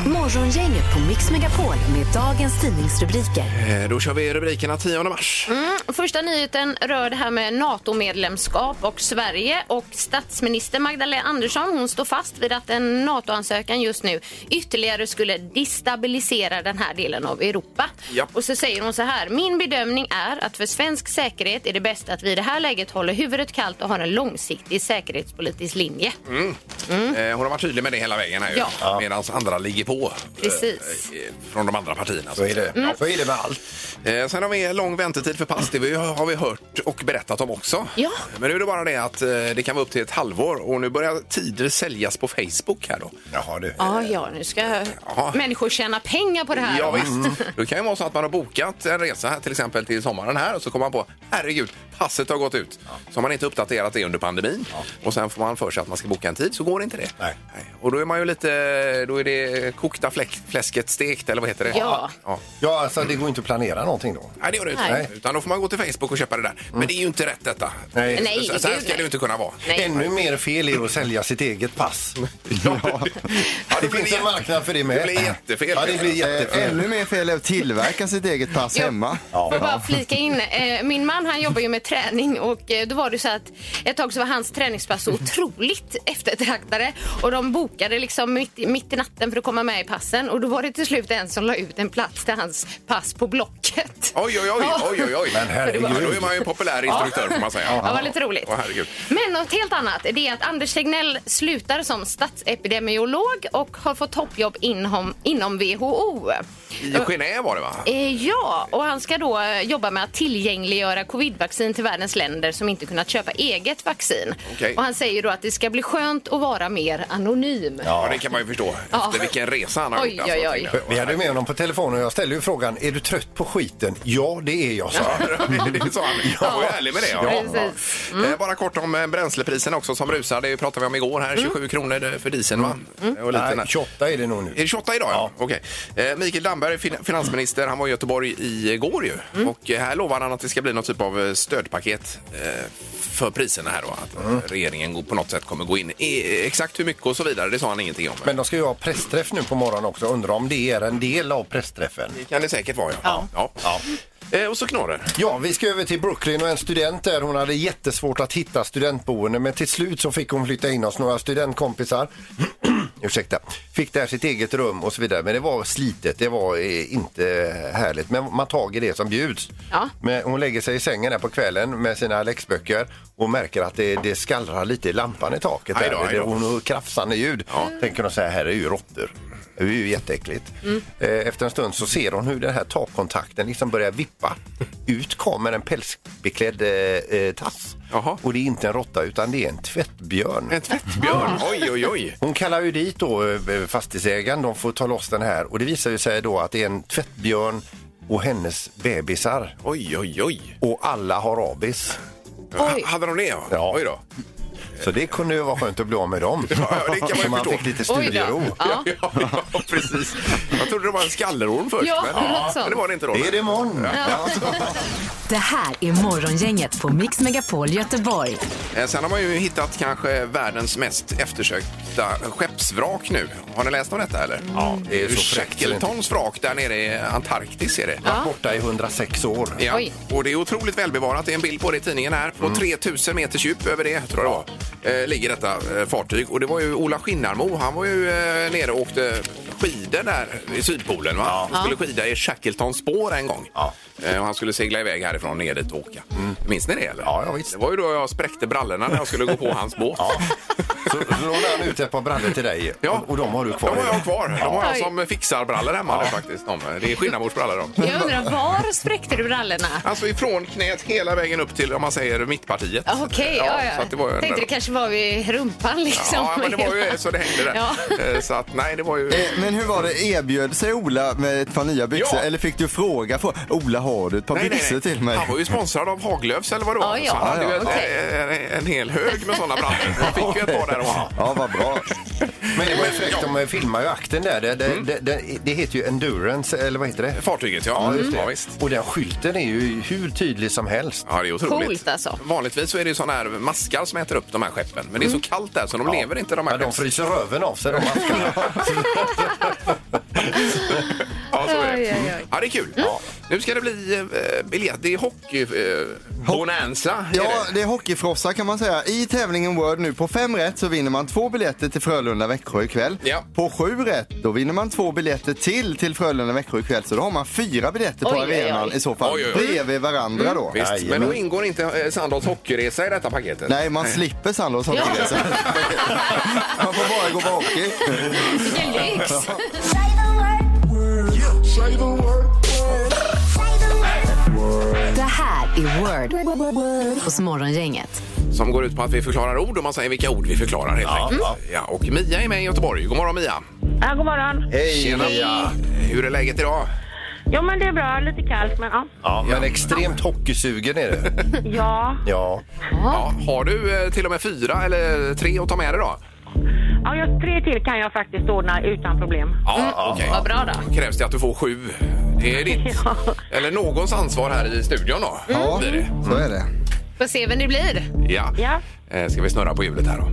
Speaker 3: Morgongänget på Mix Megapol med dagens tidningsrubriker.
Speaker 4: Eh, Då kör vi rubrikerna 10 mars.
Speaker 6: Första nyheten rör det här med NATO-medlemskap och Sverige. Och statsminister Magdalena Andersson hon står fast vid att en NATO-ansökan just nu ytterligare skulle destabilisera den här delen av Europa.
Speaker 4: Ja.
Speaker 6: Och så säger hon så här. Min bedömning är att för svensk säkerhet är det bäst att vi i det här läget håller huvudet kallt och har en långsiktig säkerhetspolitisk linje.
Speaker 4: Mm. Eh, Hon har varit tydlig med det hela vägen här ju.
Speaker 6: Mm. Ja.
Speaker 4: Medan andra ligger på. eh,
Speaker 6: Precis. Mm.
Speaker 4: eh, Från de andra partierna.
Speaker 7: så är det. Ja, så är det med allt.
Speaker 4: Eh, Sen har vi lång väntetid för pass. Det vi- har vi hört och berättat om också.
Speaker 6: Ja.
Speaker 4: Men nu är det bara det att eh, det kan vara upp till ett halvår och nu börjar tider säljas på Facebook här då.
Speaker 7: Jaha, du.
Speaker 6: Ja, Ah, ja, nu ska
Speaker 4: Ja.
Speaker 6: människor tjäna pengar på det här.
Speaker 4: Ja, visst. Det kan ju vara så att man har bokat en resa här, till exempel till sommaren här och så kommer man på herregud, passet har gått ut. Så har man inte uppdaterat det under pandemin och sen får man för sig att man ska boka en tid så går inte det.
Speaker 7: Nej.
Speaker 4: Och då är man ju lite, då är det kokta fläck, fläsket stekt eller vad heter det?
Speaker 6: Ja.
Speaker 4: ja.
Speaker 7: Ja, alltså det går inte att planera någonting då.
Speaker 4: Nej, det gör det inte.
Speaker 6: Nej.
Speaker 4: Utan då får man gå till Facebook och köpa det där. Men det är ju inte rätt detta.
Speaker 7: Nej.
Speaker 6: Nej,
Speaker 4: så, så här
Speaker 6: gud,
Speaker 4: ska det
Speaker 6: nej.
Speaker 4: ju inte kunna vara.
Speaker 6: Nej.
Speaker 7: Ännu mer fel är att sälja sitt eget pass.
Speaker 4: Ja,
Speaker 7: Det finns en marknad för det med.
Speaker 4: Det blir jättefel.
Speaker 7: Ja, det blir
Speaker 5: Eh,
Speaker 7: jättefel.
Speaker 5: Ännu mer fel är att tillverka sitt eget pass
Speaker 6: Ja.
Speaker 5: hemma.
Speaker 6: Får jag bara flika in. Eh, min man han jobbar ju med träning och eh, då var det så att ett tag så var hans träningspass så otroligt eftertraktade och de bokade liksom mitt, i- mitt i natten för att komma med i passen och då var det till slut en som la ut en plats till hans pass på Blocket.
Speaker 4: Oj, oj, oj, oj, oj, oj.
Speaker 7: Men herregud.
Speaker 4: Ja, Då är man ju en populär instruktör får man säga.
Speaker 6: Ja, det var lite roligt.
Speaker 4: Åh, herregud.
Speaker 6: Men något helt annat det är att Anders Tegnell slutar som statsepidemiolog och har fått toppjobb inom, inom WHO.
Speaker 4: I Genève var det va?
Speaker 6: Eh, Ja, och han ska då eh, jobba med att tillgängliggöra covidvaccin till världens länder som inte kunnat köpa eget vaccin.
Speaker 4: Okej.
Speaker 6: Och han säger då att det ska bli skönt att vara mer anonym.
Speaker 4: Ja, det kan man ju förstå. Efter
Speaker 6: Ja.
Speaker 4: vilken resa han har
Speaker 6: Oj,
Speaker 4: gjort. alltså,
Speaker 6: oj, oj.
Speaker 4: tänkte jag.
Speaker 7: Vi hade med honom på telefon och jag ställde ju frågan, är du trött på skiten? Ja, det är jag, sa han.
Speaker 4: det sa han. Jag var ju ärlig med det. Ja.
Speaker 6: Ja, precis. Mm.
Speaker 4: Eh, Bara kort om eh, bränslepriserna också som rusar. Det pratade vi om igår
Speaker 6: Mm.
Speaker 4: här. 27 kronor eh, för dieseln va? Och lite
Speaker 7: Nej, 28 är det nog nu.
Speaker 4: Är det 28 idag? Ja. Okej. Eh, Mikael Damberg, fin- finansminister, han var i Göteborg igår ju.
Speaker 6: Mm.
Speaker 4: Och eh, här lovar han att det ska bli någon typ av eh, stödpaket eh, för priserna här då. Att eh, regeringen går- på något sätt kommer gå in. I, exakt hur mycket och så vidare, det sa han ingenting om. Men
Speaker 7: Men de ska ju ha pressträff nu på morgonen också. Undrar om det är en del av pressträffen.
Speaker 4: det kan det säkert vara ja. ja. Eh, och så knorren.
Speaker 7: Ja, vi ska över till Brooklyn och en student där. Hon hade jättesvårt att hitta studentboende men till slut så fick hon flytta in hos några studentkompisar. Ursäkta. Fick där sitt eget rum och så vidare. Men det var slitet, det var eh, inte härligt. Men man tag i det som bjuds.
Speaker 6: Ja.
Speaker 7: Men hon lägger sig i sängen där på kvällen med sina läxböcker och märker att det, det skallrar lite i lampan i taket.
Speaker 4: Aj
Speaker 7: Där.
Speaker 4: då, aj då.
Speaker 7: Hon hör krafsande ljud. Tänker hon så här, här är ju råttor. Det är ju jätteäckligt.
Speaker 4: Mm.
Speaker 7: Eh, Efter en stund så ser hon hur den här takkontakten liksom börjar vippa. Ut kommer en pälsbeklädd eh, eh, tass.
Speaker 4: Jaha.
Speaker 7: Och det är inte en råtta utan det är en tvättbjörn.
Speaker 4: En tvättbjörn. Oj, oj, oj.
Speaker 7: Hon kallar ju dit då eh, fastighetsägaren, de får ta loss den här och det visar ju sig då att det är en tvättbjörn och hennes bebisar
Speaker 4: Oj, oj, oj.
Speaker 7: och alla har abis.
Speaker 4: H- hade de det? Ja.
Speaker 7: Ja.
Speaker 4: Oj då.
Speaker 7: Så det kunde ju vara skönt att bli av med dem.
Speaker 4: ja, det kan man ju
Speaker 7: Så man
Speaker 4: förstå.
Speaker 7: fick lite studiero.
Speaker 6: Oj då. Ja.
Speaker 4: Ja, ja, precis. Jag trodde det var en skallerorm först.
Speaker 6: Ja,
Speaker 4: men,
Speaker 6: något sånt.
Speaker 4: men det var det inte då.
Speaker 7: Det är det imorgon.
Speaker 3: Det här är Morgongänget på Mix Megapol Göteborg.
Speaker 4: Eh, Sen har man ju hittat kanske världens mest eftersökta skeppsvrak nu. Har ni läst om detta eller? Ja,
Speaker 7: det är så fräckt.
Speaker 4: Shackletons vrak där nere i Antarktis är det.
Speaker 7: Varit borta i 106 år.
Speaker 4: Ja,
Speaker 6: Oj.
Speaker 4: och det är otroligt välbevarat. Det är en bild på det i tidningen här.
Speaker 7: Mm.
Speaker 4: På 3000 meters djup över det, tror jag det var, eh, ligger detta eh, fartyg. Och det var ju Ola Skinnarmo, han var ju eh, nere och åkte skidor där i Sydpolen. Va? Han skulle skida i Shackletons spår en gång.
Speaker 7: Ja. Mm.
Speaker 4: Eh, och han skulle segla iväg härifrån ner dit och åka. Minns ni det eller?
Speaker 7: Ja, ja, visst.
Speaker 4: Det var ju då jag spräckte brallorna när jag skulle gå på hans båt.
Speaker 7: Ja. Så lånade han ut ett par brallor till dig
Speaker 4: Ja.
Speaker 7: och, och de har du kvar.
Speaker 4: De har jag
Speaker 7: idag.
Speaker 4: kvar. De har jag
Speaker 6: Oj.
Speaker 4: som fixar brallor hemma nu faktiskt. De, det är Skinnarmos brallor de.
Speaker 6: Jag undrar, var spräckte du brallorna?
Speaker 4: Alltså ifrån knät hela vägen upp till, om man säger, mittpartiet.
Speaker 6: Ja, Ah, Okej, ja, ja.
Speaker 4: Så att det var ju en-
Speaker 6: tänkte det kanske var vid rumpan liksom.
Speaker 4: Ja, men det var ju så det hängde där.
Speaker 6: Ja.
Speaker 4: Eh, Så att nej, det var ju...
Speaker 5: Eh, Men hur var det, erbjöd sig Ola med ett par nya byxor?
Speaker 4: Ja.
Speaker 5: Eller fick du fråga, fråga Ola har du ett par
Speaker 4: Nej, nej,
Speaker 5: byxor
Speaker 4: nej.
Speaker 5: till mig?
Speaker 4: Han var ju sponsrad av Haglöfs eller vad det
Speaker 6: Ja,
Speaker 4: var.
Speaker 6: Ah, ja.
Speaker 4: Så han hade ju
Speaker 5: Ja,
Speaker 4: ett-
Speaker 5: ja,
Speaker 4: en, en hel hög med sådana brallor. Han fick ju ett par där och var.
Speaker 5: Ja, vad bra.
Speaker 7: Men det var ju fräckt, de filmar ju akten där. Det, det,
Speaker 4: Mm.
Speaker 7: det, det, det heter ju Endurance, eller vad heter det?
Speaker 4: Fartyget, ja.
Speaker 7: Ja,
Speaker 4: ja,
Speaker 7: det.
Speaker 4: visst.
Speaker 7: Och den skylten är ju hur tydlig som helst.
Speaker 4: Ja, det är otroligt.
Speaker 6: Coolt, alltså.
Speaker 4: Vanligtvis så är det ju sådana här maskar som äter upp de här skeppen. Men det är
Speaker 6: Mm.
Speaker 4: så kallt där så de lever inte de här
Speaker 7: Ja, de
Speaker 4: skeppen.
Speaker 7: fryser röven av sig de maskarna.
Speaker 4: Ja, så är
Speaker 6: Oj,
Speaker 4: det. Mm.
Speaker 6: oj, oj.
Speaker 4: Ja, det är kul.
Speaker 6: Mm.
Speaker 4: Ja. Nu ska det bli eh, biljett. Det är hockey... Eh, bonanza. är
Speaker 5: Ja,
Speaker 4: det.
Speaker 5: det är hockeyfrossa kan man säga. I tävlingen Word nu på fem rätt så vinner man två biljetter till Frölunda-Växjö ikväll.
Speaker 4: Ja.
Speaker 5: På sju rätt då vinner man två biljetter till till Frölunda-Växjö ikväll. Så då har man fyra biljetter på
Speaker 6: Oj, oj, oj.
Speaker 5: arenan i så fall.
Speaker 4: Oj, oj, oj.
Speaker 5: Bredvid varandra då.
Speaker 4: Visst,
Speaker 7: Jajamän.
Speaker 4: men då ingår inte eh, Sandals hockeyresa i detta paketet.
Speaker 5: Nej, man slipper Sandals hockeyresa. man får bara gå på hockey.
Speaker 6: Vilken lyx!
Speaker 3: Det här är Word hos Morgongänget.
Speaker 4: Som går ut på att vi förklarar ord och man säger vilka ord vi förklarar helt enkelt. Mm. Ja, och Mia är med i Göteborg. God morgon Mia!
Speaker 2: Ja, god morgon.
Speaker 7: Hej!
Speaker 4: Mia! Eh, Hur är läget idag?
Speaker 2: Jo, men det är bra. Lite kallt, men ja.
Speaker 7: Ja, men extremt hockeysugen är det.
Speaker 2: Ja,
Speaker 7: Ja.
Speaker 4: Ja, har du eh, till och med fyra eller tre att ta med dig då?
Speaker 2: ja jag, tre till kan jag faktiskt ordna utan problem.
Speaker 4: Ja, okej.
Speaker 6: Vad bra då.
Speaker 4: Krävs det att du får sju? Det är ditt,
Speaker 2: Ja.
Speaker 4: eller någons ansvar här i studion då.
Speaker 5: Ja,
Speaker 4: blir det. Mm.
Speaker 5: så är det.
Speaker 6: Får se vem det blir.
Speaker 4: Ja.
Speaker 2: Ja.
Speaker 4: Eh, Ska vi snurra på hjulet här då?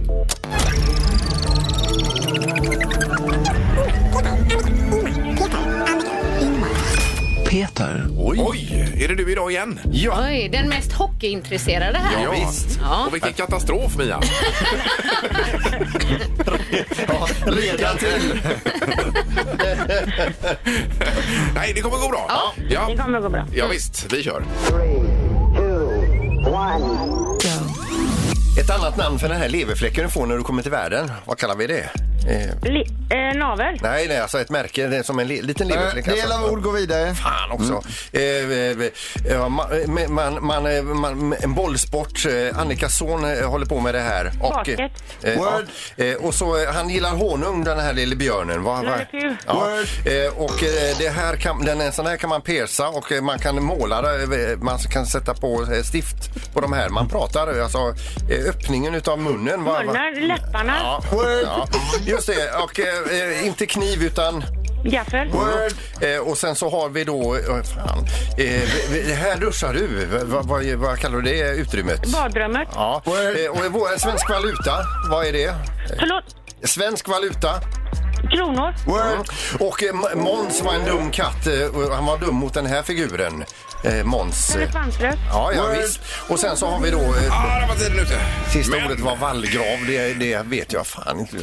Speaker 4: Oj. Är det du idag igen?
Speaker 7: ja.
Speaker 6: Oj, den mest hockeyintresserade här.
Speaker 4: Ja,
Speaker 7: visst.
Speaker 6: Ja.
Speaker 4: Och vilken katastrof, Mia.
Speaker 7: Lycka till!
Speaker 4: Nej, det kommer gå bra. Ja.
Speaker 2: Det
Speaker 4: Ja.
Speaker 2: kommer gå bra.
Speaker 4: visst, vi kör.
Speaker 7: Ett annat namn för den här leverfläcken du får när du kommer till världen, vad kallar vi det? Eh,
Speaker 2: Li, eh, navel.
Speaker 7: nej, nej, alltså ett märke. Det är som en le- liten
Speaker 5: Eh,
Speaker 7: leverklick.
Speaker 5: Del av ord går vidare.
Speaker 7: Fan också.
Speaker 5: Mm.
Speaker 7: Eh, eh, ja, man, man, man, eh, man, en bollsport. Eh, Annikas son eh, håller på med det här. Och, eh,
Speaker 2: Basket.
Speaker 7: eh,
Speaker 5: Word.
Speaker 7: ja, eh, och så, eh, han gillar honung, den här lille björnen. Va, va?
Speaker 2: Nalle Puh.
Speaker 7: Ja.
Speaker 5: Word.
Speaker 7: Eh, och eh, det här kan, den, en sån här kan man persa och eh, man kan måla, det, eh, man kan sätta på eh, stift på de här. Man pratar, alltså eh, öppningen utav munnen. Va, va?
Speaker 2: Munnen, läpparna,
Speaker 7: Ja,
Speaker 5: Word.
Speaker 7: ja, just det. Och eh, eh, inte kniv utan...
Speaker 2: gaffel.
Speaker 7: Eh, och sen så har vi då... eh, fan. Eh, vi- vi- här duschar du. Va- va- Vad vad kallar du det utrymmet?
Speaker 2: Badrummet.
Speaker 7: Ja. Eh, och vår svensk valuta, vad är det?
Speaker 2: Förlåt.
Speaker 7: Svensk valuta.
Speaker 2: Kronor.
Speaker 7: Mm. Och eh, M- Måns var en dum katt. eh, och Han var dum mot den här figuren. Eh, Måns. eh.
Speaker 2: Elefantröst.
Speaker 7: Ja, ja,
Speaker 5: Word.
Speaker 7: visst. Och sen så har vi då... Eh,
Speaker 4: Ah, där var tiden ute.
Speaker 7: sista
Speaker 4: Men-
Speaker 7: ordet var vallgrav. Det, det vet jag fan inte.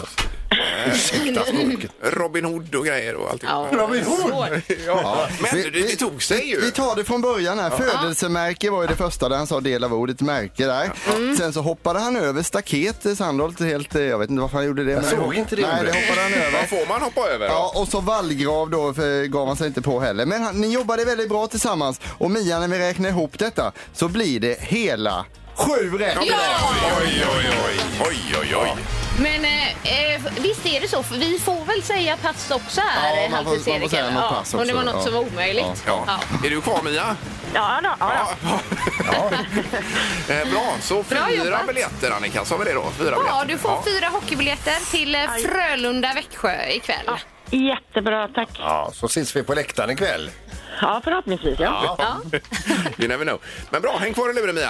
Speaker 7: Ursäkta språket.
Speaker 4: Robin Hood och grejer och alltihop.
Speaker 6: Ja, svårt.
Speaker 4: Ja, men
Speaker 5: Vi-
Speaker 4: det,
Speaker 5: vi-
Speaker 4: det tog sig ju.
Speaker 5: Vi tar det från början här. Födelsemärke var ju det första där han sa del av ordet märke där. Sen så hoppade han över staket eh, Sandholt helt, eh, jag vet inte varför han gjorde det. men-
Speaker 7: såg inte det.
Speaker 5: Nej, det hoppade han
Speaker 4: Vad
Speaker 5: över.
Speaker 4: får man hoppa över?
Speaker 5: Ja,
Speaker 4: Ja.
Speaker 5: och så vallgrav då för gav han sig inte på heller. Men han, ni jobbade väldigt bra tillsammans och Mia när vi räknar ihop detta så blir det hela sju rätt.
Speaker 4: Oj, oj, oj. Oj, oj, oj.
Speaker 6: Men eh, eh, visst är det så, för vi får väl säga pass också här,
Speaker 5: Ja, man får-
Speaker 6: Halvtids-Erik,
Speaker 5: man får säga
Speaker 6: eller?
Speaker 5: något
Speaker 6: Ja,
Speaker 5: pass
Speaker 6: Om det
Speaker 5: också,
Speaker 6: var något
Speaker 5: ja.
Speaker 6: som var omöjligt.
Speaker 4: Ja.
Speaker 6: Ja.
Speaker 4: Är du kvar, Mia?
Speaker 2: Ja, då, ja, ja.
Speaker 4: Eh, bra, så
Speaker 6: Bra
Speaker 4: fyra
Speaker 6: jobbat.
Speaker 4: biljetter, Annika. Sa vi det då? Fyra
Speaker 6: Ja,
Speaker 4: biljetter.
Speaker 6: du får fyra hockeybiljetter till eh, Frölunda-Växjö ikväll.
Speaker 2: Jättebra, tack.
Speaker 7: Ja, så ses vi på läktaren ikväll.
Speaker 2: Ja, förhoppningsvis. Ja, ja.
Speaker 4: You never know. Men bra, häng kvar i luren, Mia.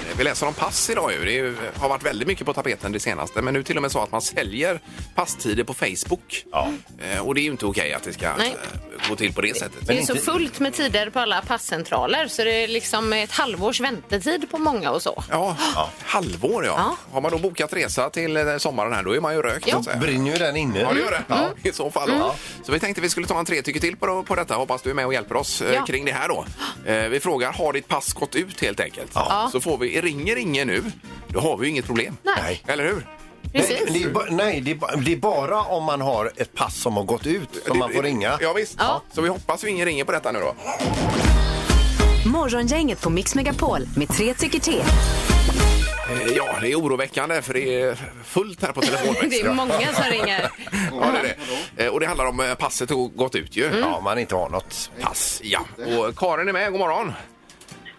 Speaker 4: Vi läser om pass idag. Ju. Det är ju- har varit väldigt mycket på tapeten det senaste. Men nu till och med så att man säljer passtider på Facebook. Eh, Och det är ju inte okej att det ska
Speaker 6: Nej.
Speaker 4: eh, gå till på det sättet.
Speaker 6: Det är så fullt med tider på alla passcentraler så det är liksom ett halvårs väntetid på många och så.
Speaker 4: Ja, halvår ja.
Speaker 6: Ja.
Speaker 4: Har man då bokat resa till eh, sommaren här, då är man ju rökt.
Speaker 6: Ja.
Speaker 4: så att säga.
Speaker 7: Brinner ju den inne.
Speaker 4: Ja, det gör det.
Speaker 7: Mm.
Speaker 4: Ja, I så fall. då. Så vi tänkte vi skulle ta en tre tycker till på, på detta. Hoppas du är med och hjälper oss eh,
Speaker 6: Ja.
Speaker 4: kring det här då. Eh, vi frågar, har ditt pass gått ut helt enkelt? Så får vi, ringer ingen nu, då har vi ju inget problem.
Speaker 6: Nej.
Speaker 4: Eller hur?
Speaker 6: Precis.
Speaker 7: Men Det är ba- nej, det är, ba- det är bara om man har ett pass som har gått ut som man får ringa.
Speaker 4: Ja, visst.
Speaker 6: Ja.
Speaker 4: Så vi hoppas ju ingen ringer på detta nu då.
Speaker 3: Morgongänget på Mix Megapol med tre tycker till.
Speaker 4: Eh, Ja, det är oroväckande för det är fullt här på
Speaker 6: Det
Speaker 4: telefonväxeln.
Speaker 6: är många som ringer.
Speaker 4: ja, det är det. Eh, Och det handlar om eh, passet har gått ut
Speaker 6: Mm.
Speaker 4: ju. Ja,
Speaker 7: Ja, om man inte har något.
Speaker 4: pass. Ja. Och Karin är med, god morgon.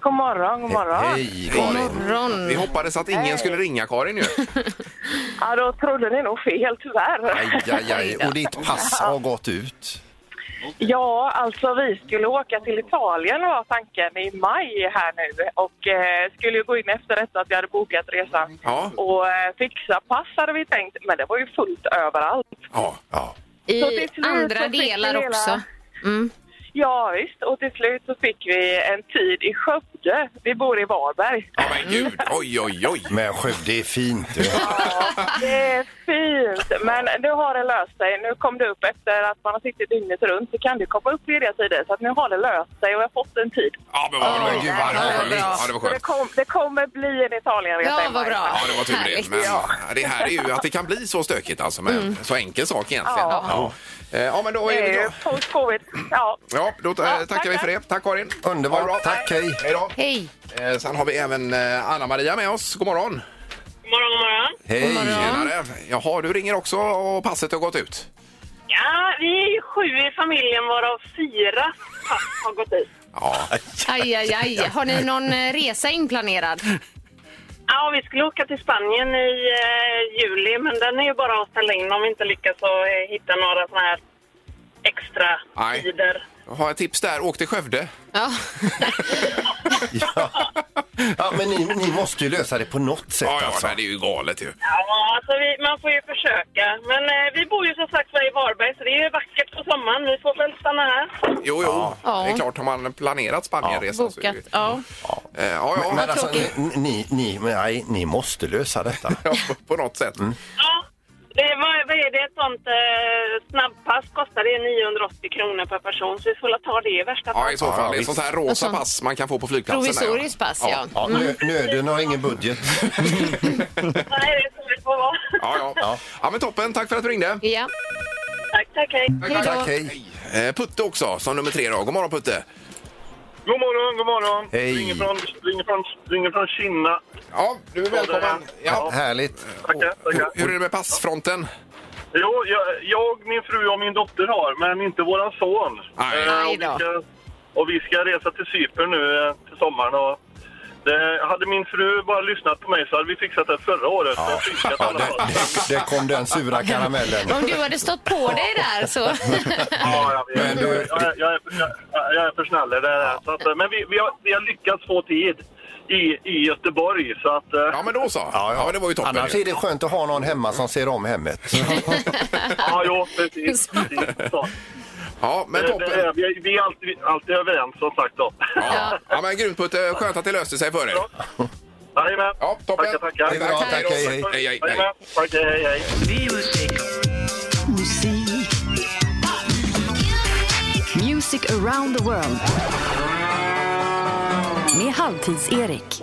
Speaker 2: God morgon, god morgon.
Speaker 7: Hej, Karin.
Speaker 6: Ron.
Speaker 4: Vi hoppades att ingen skulle ringa Karin ju.
Speaker 2: Ja, då trodde ni nog fel, tyvärr.
Speaker 7: Aj, aj, aj. Och ditt pass har gått ut.
Speaker 2: Ja, alltså vi skulle åka till Italien var tanken i maj här nu och eh, skulle ju gå in efter detta att jag hade bokat resan
Speaker 4: Ja.
Speaker 2: och eh, fixa pass hade vi tänkt, men det var ju fullt överallt.
Speaker 4: Ja.
Speaker 7: Ja.
Speaker 2: Så
Speaker 6: I
Speaker 2: till slut så
Speaker 6: andra
Speaker 2: fick vi
Speaker 6: delar
Speaker 2: hela-
Speaker 6: också. Mm.
Speaker 2: Ja visst, och till slut så fick vi en tid i Skövde. Vi bor i Varberg.
Speaker 4: Ja, men gud. Oj, oj, oj.
Speaker 7: Men Skövde är fint. du.
Speaker 6: Ah.
Speaker 2: Det är fint, men nu har det löst sig. Nu kom det upp efter att man har suttit dygnet runt så kan det komma upp lediga tider. Så att nu har det löst sig och jag har fått en tid.
Speaker 4: Ja, men vad bra. Gud, vad det var skönt. Ja, det var
Speaker 2: Så det,
Speaker 4: skönt.
Speaker 2: kom, det kommer bli en Italienresa
Speaker 6: Ja,
Speaker 2: i
Speaker 6: vad
Speaker 2: maj.
Speaker 6: bra.
Speaker 4: Ja, det var tur det.
Speaker 6: Härligt.
Speaker 4: Men ja, det här är ju att det kan bli så stökigt alltså med en så enkel sak egentligen. Ja. Eh, Ja, men då
Speaker 2: Det
Speaker 4: är vi
Speaker 2: är ju
Speaker 4: glada.
Speaker 2: post-covid. Ja.
Speaker 4: Ja, då eh,
Speaker 2: Ja,
Speaker 4: tackar vi för det. Tack Karin. Ha det bra.
Speaker 7: Underbart. Tack, hej.
Speaker 4: Hej då.
Speaker 6: Hej.
Speaker 4: Eh, Sen har vi även eh, Anna-Maria med oss. God morgon.
Speaker 2: God morgon, god morgon.
Speaker 7: Hej.
Speaker 4: Tjenare. Jaha, du ringer också och passet har gått ut.
Speaker 2: Ja, vi är ju sju i familjen varav fyra pass har gått ut.
Speaker 4: Ja,
Speaker 6: Aj, aj, aj. Har ni någon eh, resa inplanerad?
Speaker 2: Ja, vi skulle åka till Spanien i eh, juli, men den är ju bara att ställa in om vi inte lyckas och, eh, hitta några såna här extra
Speaker 4: Nej.
Speaker 2: tider.
Speaker 4: jag har ett tips där. Åk till Skövde.
Speaker 6: Ja.
Speaker 7: Ja. Ja, men ni, ni måste ju lösa det på något sätt.
Speaker 4: Ja, ja,
Speaker 7: alltså.
Speaker 4: nej, det är ju galet ju.
Speaker 2: Ja, alltså vi, man får ju försöka. Men eh, vi bor ju som sagt var i Varberg, så det är ju vackert på sommaren. Vi får väl stanna här.
Speaker 4: Jo, jo.
Speaker 6: Ja.
Speaker 4: Det är klart, har man planerat Spanienresan så är
Speaker 6: Bokat.
Speaker 4: det ju...
Speaker 6: Ja.
Speaker 4: Eh, Ja, ja,
Speaker 7: Men alltså,
Speaker 6: tråkigt.
Speaker 7: ni, ni, ni, men nej, ni måste lösa detta.
Speaker 4: ja, på- på något sätt.
Speaker 2: Ja, det var, vad är det? Ett sånt eh, snabbpass kostar det 980 kronor per person, så vi får väl ta det i värsta
Speaker 4: Ja,
Speaker 2: fall.
Speaker 4: i så fall. Det är sånt här rosa
Speaker 6: Alltså,
Speaker 4: pass man kan få på flygplatsen. där,
Speaker 6: Provisoriskt pass, ja.
Speaker 7: Ja, nö- Nöden har ingen budget.
Speaker 2: Nej, det är så det får vara.
Speaker 4: Ja, ja. Ja. ja, men toppen. Tack för att du ringde.
Speaker 6: Ja,
Speaker 2: Tack, tack, hej.
Speaker 6: hej då.
Speaker 7: Tack, hej.
Speaker 4: Eh, Putte också, som nummer tre då. God morgon Putte.
Speaker 1: God morgon, god morgon.
Speaker 7: Hej.
Speaker 1: Ringer från, ringer från, ringer från Kina.
Speaker 4: Ja, du är välkommen. Ja.
Speaker 7: Härligt.
Speaker 1: Tackar, tackar.
Speaker 4: Hur är det med passfronten?
Speaker 1: Jo, jag, jag, min fru och min dotter har, men inte våran son.
Speaker 4: Nej.
Speaker 1: Eh,
Speaker 6: Aj
Speaker 1: och, vi
Speaker 6: då.
Speaker 1: ska, och vi ska resa till Cypern nu eh, till sommaren. Och det, hade min fru bara lyssnat på mig så hade vi fixat det förra året. Ja. Fiskat, i
Speaker 7: Ja,
Speaker 1: alla
Speaker 7: där,
Speaker 1: fall.
Speaker 7: där, där kom den sura karamellen.
Speaker 6: Om du hade stått på dig där så...
Speaker 1: Ja, jag,
Speaker 7: Men
Speaker 1: vet.
Speaker 7: du-
Speaker 1: jag, är- jag, är, för- jag, jag är för snäll. i Det här. Så att, eh, men vi, vi, har, vi har lyckats få tid i, i Göteborg. Så att, eh,
Speaker 4: Ja, men då så. Ja, men det var ju toppen.
Speaker 7: Annars
Speaker 4: ju.
Speaker 7: är det skönt att ha någon hemma som ser om hemmet.
Speaker 1: ja, jo, precis. precis så.
Speaker 4: Ja, men
Speaker 1: Det, det är,
Speaker 4: toppen.
Speaker 1: vi, vi är alltid, alltid överens, som sagt. Då.
Speaker 4: Ja. ja, men grymt Putte. Skönt att det löste sig för dig.
Speaker 1: Jajamän.
Speaker 4: Ja, toppen.
Speaker 1: Tackar, tackar.
Speaker 7: Det är bra, tack, hej, hej.
Speaker 4: Hej, hej, hej.
Speaker 1: Jajamän. Tack, hej, hej, hej.
Speaker 3: Music around the world. Med Halvtids-Erik.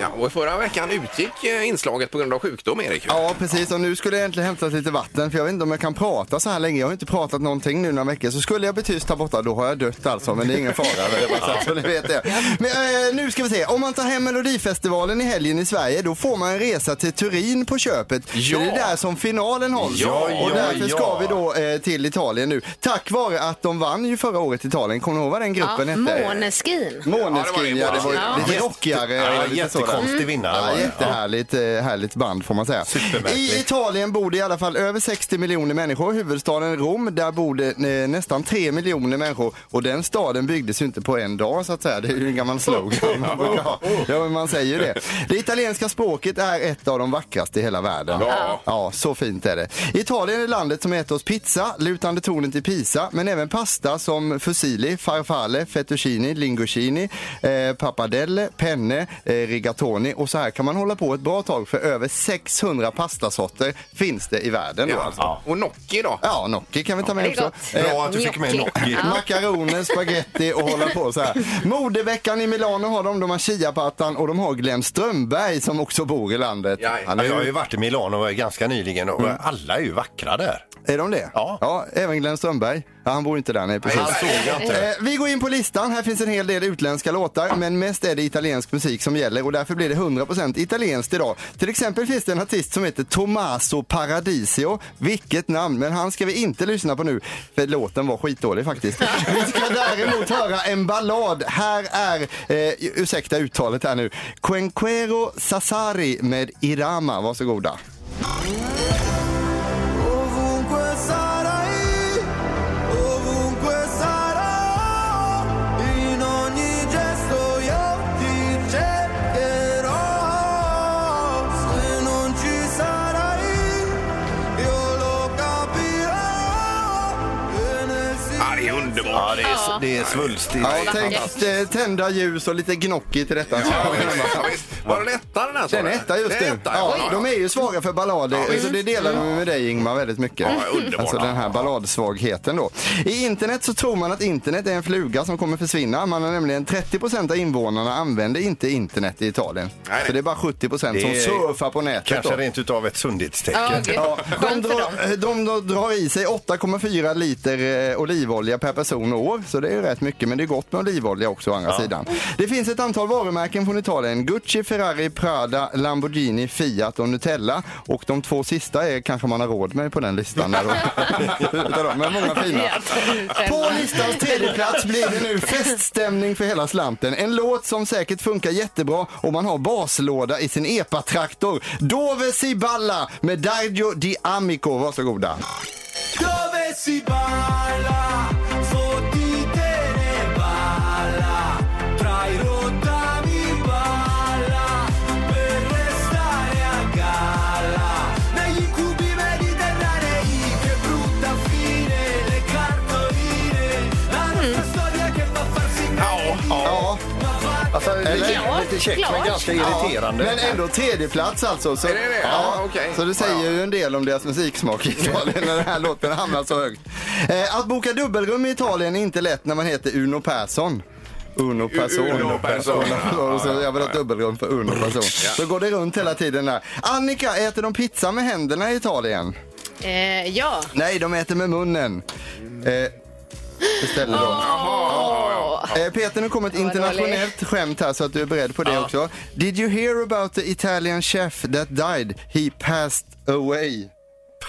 Speaker 4: Ja, och i förra veckan utgick eh, inslaget på grund av sjukdom, Erik.
Speaker 5: Ja, precis. Och nu skulle jag egentligen hämta lite vatten för jag vet inte om jag kan prata så här länge. Jag har inte pratat någonting nu några veckor. Så skulle jag bli tyst här borta, då har jag dött alltså. Men det är ingen fara. Det är bara så, här, så ni vet det. Men eh, nu ska vi se. Om man tar hem Melodifestivalen i helgen i Sverige, då får man en resa till Turin på köpet.
Speaker 4: Ja.
Speaker 5: Det är där som finalen hålls.
Speaker 7: Ja,
Speaker 5: och
Speaker 7: ja,
Speaker 5: därför ska
Speaker 7: ja.
Speaker 5: vi då eh, till Italien nu. Tack vare att de vann ju förra året Italien. Kommer ni ihåg vad den gruppen
Speaker 6: Ja,
Speaker 5: hette?
Speaker 6: Måneskin.
Speaker 5: Måneskin, ja. Det var ju
Speaker 4: Ja.
Speaker 5: lite rockigare.
Speaker 7: Ja,
Speaker 5: lite sådär.
Speaker 7: jättekonstig vinnare var
Speaker 5: Ja,
Speaker 7: det. Ja.
Speaker 5: jättehärligt eh, härligt band får man säga.
Speaker 7: Supermärkligt.
Speaker 5: I Italien bor det i alla fall över 60 miljoner människor. Huvudstaden Rom, där bor det eh, nästan 3 miljoner människor. Och den staden byggdes ju inte på en dag så att säga. Det är ju en gammal slogan. Man brukar ha. Ja, men man säger ju det. Det italienska språket är ett av de vackraste i hela världen.
Speaker 4: Ja.
Speaker 5: Ja, så fint är det. Italien är landet som äter oss pizza, lutande tornet i Pisa, men även pasta som fusilli, farfalle, fettuccini, linguini, eh, pappardelle, penne, eh, rigatoni och så här kan man hålla på ett bra tag för över 600 pastasorter finns det i världen då alltså.
Speaker 4: Ja. Och Nocki då?
Speaker 5: Ja, gnocchi kan vi ta med
Speaker 6: Det är
Speaker 5: också.
Speaker 6: gott.
Speaker 5: Eh,
Speaker 7: Bra att du fick med Nocki.
Speaker 5: Makaroner, spaghetti och hålla på så här. Modeveckan i Milano har de, de har chiapattan och de har Glenn Strömberg som också bor i landet.
Speaker 4: Ja, ja.
Speaker 5: Han
Speaker 7: Ja,
Speaker 5: är ju
Speaker 7: jag har ju varit i Milano ganska nyligen och alla är ju vackra där.
Speaker 5: Är de det?
Speaker 7: Ja.
Speaker 5: även Glenn Strömberg. Ja, han bor inte där, nej precis.
Speaker 7: Han såg jag inte.
Speaker 5: Eh, vi går in på listan. Här finns en hel del utländska låtar, men mest är det italiensk musik som gäller och därför blir det 100% italienskt idag. Till exempel finns det en artist som heter Tommaso Paradisio. Vilket namn, men han ska vi inte lyssna på nu, för låten var skitdålig faktiskt. Vi ska däremot höra en ballad. Här är, eh, ursäkta uttalet här nu, Quenquero Sassari med Irama. Varsågoda.
Speaker 4: Ja, det är underbart.
Speaker 7: det är, det är svulstigt.
Speaker 5: Ja, tänk eh, tända ljus och lite gnocchi till detta.
Speaker 4: Ja, visst, ja, visst. Var den etta den här? sa
Speaker 5: Den
Speaker 4: du?
Speaker 5: etta just
Speaker 4: Det är
Speaker 5: det.
Speaker 4: etta,
Speaker 5: Ja,
Speaker 4: ja.
Speaker 5: de är ju svaga för ballader, så det delar de med dig Ingmar väldigt mycket.
Speaker 4: Ja, underbart.
Speaker 5: Alltså den här balladsvagheten då. I internet så tror man att internet är en fluga som kommer försvinna. Man har nämligen 30% av invånarna använder inte internet i Italien.
Speaker 4: Nej.
Speaker 5: Så det är bara 70% som
Speaker 7: Det är-
Speaker 5: surfar på nätet.
Speaker 7: Kanske
Speaker 5: då.
Speaker 7: rent utav ett sundhetstecken.
Speaker 6: Ja, gud.
Speaker 5: Ja, de,
Speaker 6: Skönt för dem.
Speaker 5: drar, de drar- drar i sig 8,4 liter eh, olivolja per person och år, så det är ju rätt mycket. Men det är gott med olivolja också å andra sidan. Det finns ett antal varumärken från Italien. Gucci, Ferrari, Prada, Lamborghini, Fiat och Nutella. Och de två sista är kanske man har råd med på den listan. Där då. Utav dem, men många fina. På listans tredje plats blir det nu feststämning för hela slanten. En låt som säkert funkar jättebra om man har baslåda i sin epatraktor. Dove si balla med Dargio Di Amico. Varsågoda.
Speaker 10: Dove si balla, fottite ne balla, tra i rottami balla, per restare a galla, negli incubi mediterranei, che brutta fine, le cartoline, la nostra storia che va a farsi
Speaker 4: Ja,
Speaker 5: Ja,
Speaker 4: ja.
Speaker 10: ma va
Speaker 7: Alltså, lite,
Speaker 6: Ja,
Speaker 7: lite käckt
Speaker 6: klart.
Speaker 7: men ganska irriterande.
Speaker 5: Men ändå tredjeplats alltså. Så,
Speaker 4: Är det det?
Speaker 5: Ja,
Speaker 4: Ja, okej.
Speaker 5: Så det säger ju en del om deras musiksmak i Italien när den här låten hamnar så högt. Eh, att boka dubbelrum i Italien är inte lätt när man heter Uno Persson. Uno Person.
Speaker 4: Uno Persson.
Speaker 5: Och så jag vill ha ett dubbelrum för Uno Person. Så går det runt hela tiden där. Annika, äter de pizza med händerna i Italien?
Speaker 6: Eh, ja.
Speaker 5: Nej, de äter med munnen. Eh, istället då. Eh, Peter, nu kommer ett
Speaker 6: var
Speaker 5: internationellt skämt här så att du är beredd på det också. Did you hear about the Italian chef that died? He passed away.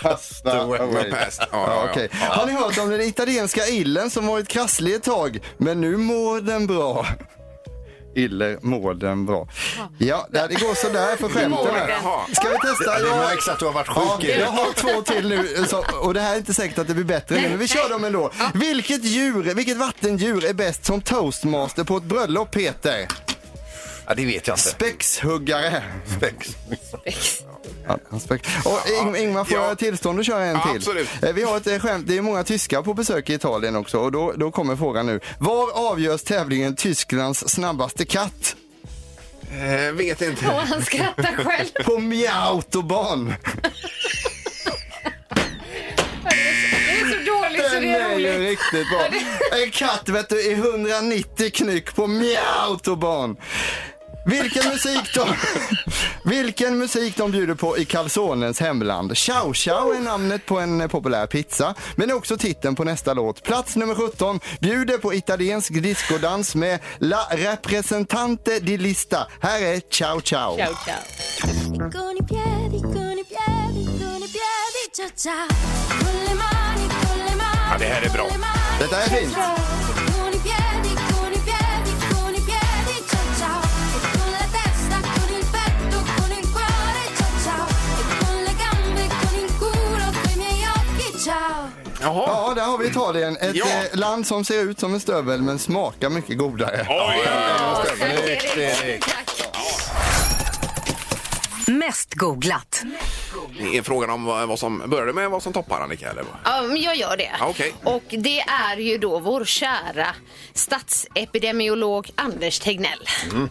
Speaker 5: Passed
Speaker 4: Men passed. Ja, ja,
Speaker 5: Ja,
Speaker 4: ja.
Speaker 5: okej. Har ni hört om den italienska illen som varit krasslig ett tag, men nu mår den bra? Iller mår den bra. Ja, det det går sådär för skämten här.
Speaker 4: Jaha.
Speaker 5: Ska vi testa?
Speaker 7: Det
Speaker 5: Jag-
Speaker 7: märks att du har varit
Speaker 5: Ja,
Speaker 7: sjuk.
Speaker 5: jag
Speaker 7: Erik.
Speaker 5: har två till nu så, och det här är inte säkert att det blir bättre nu, men vi kör dem ändå. Vilket djur, vilket vattendjur är bäst som toastmaster på ett bröllop Peter?
Speaker 7: Ja, det vet jag inte.
Speaker 5: Spexhuggare.
Speaker 7: Spex.
Speaker 5: Ja, han spex. Och Ing- Ingmar, får
Speaker 4: Ja.
Speaker 5: jag tillstånd att köra en
Speaker 4: Ja,
Speaker 5: till?
Speaker 4: absolut.
Speaker 5: Eh, Vi har ett eh, skämt, det är många tyskar på besök i Italien också och då, då kommer frågan nu. Var avgörs tävlingen Tysklands snabbaste katt?
Speaker 4: Eh, vet
Speaker 6: Och
Speaker 4: inte.
Speaker 6: han skrattar själv.
Speaker 5: På Mjautoban.
Speaker 6: Det är så dåligt så
Speaker 5: Den
Speaker 6: Alltså, det är
Speaker 5: är ju
Speaker 6: roligt.
Speaker 5: riktigt bra. En katt vet du i 190 knyck på mjautoban. Vilken musik de, vilken musik de bjuder på i Calzonens hemland. Ciao ciao är namnet på en eh, populär pizza, men är också titeln på nästa låt. Plats nummer 17 bjuder på italiensk discodans med La Representante di Lista. Här är Ciao ciao.
Speaker 6: Ciao, ciao.
Speaker 10: Con i piedi, con i piedi, con i piedi, ciao ciao. Con le mani, con le mani.
Speaker 4: Ja, det här är bra.
Speaker 5: Detta är fint.
Speaker 10: Con i piedi, con i piedi, con i piedi, ciao ciao. E con la testa, con il petto, con il cuore, ciao ciao. E con le gambe, con il culo, coi miei occhi, ciao.
Speaker 4: Jaha.
Speaker 5: Ja, där har vi Italien. Ett
Speaker 4: Ja.
Speaker 5: eh, land som ser ut som en stövel men smakar mycket godare.
Speaker 4: Oj,
Speaker 6: Tack, Erik.
Speaker 3: Mest googlat.
Speaker 4: Det är frågan om vad vad som började med vad som toppar Annika eller? vad?
Speaker 6: Ja, men jag gör det.
Speaker 4: Ja, okej.
Speaker 6: Och det är ju då vår kära statsepidemiolog Anders Tegnell.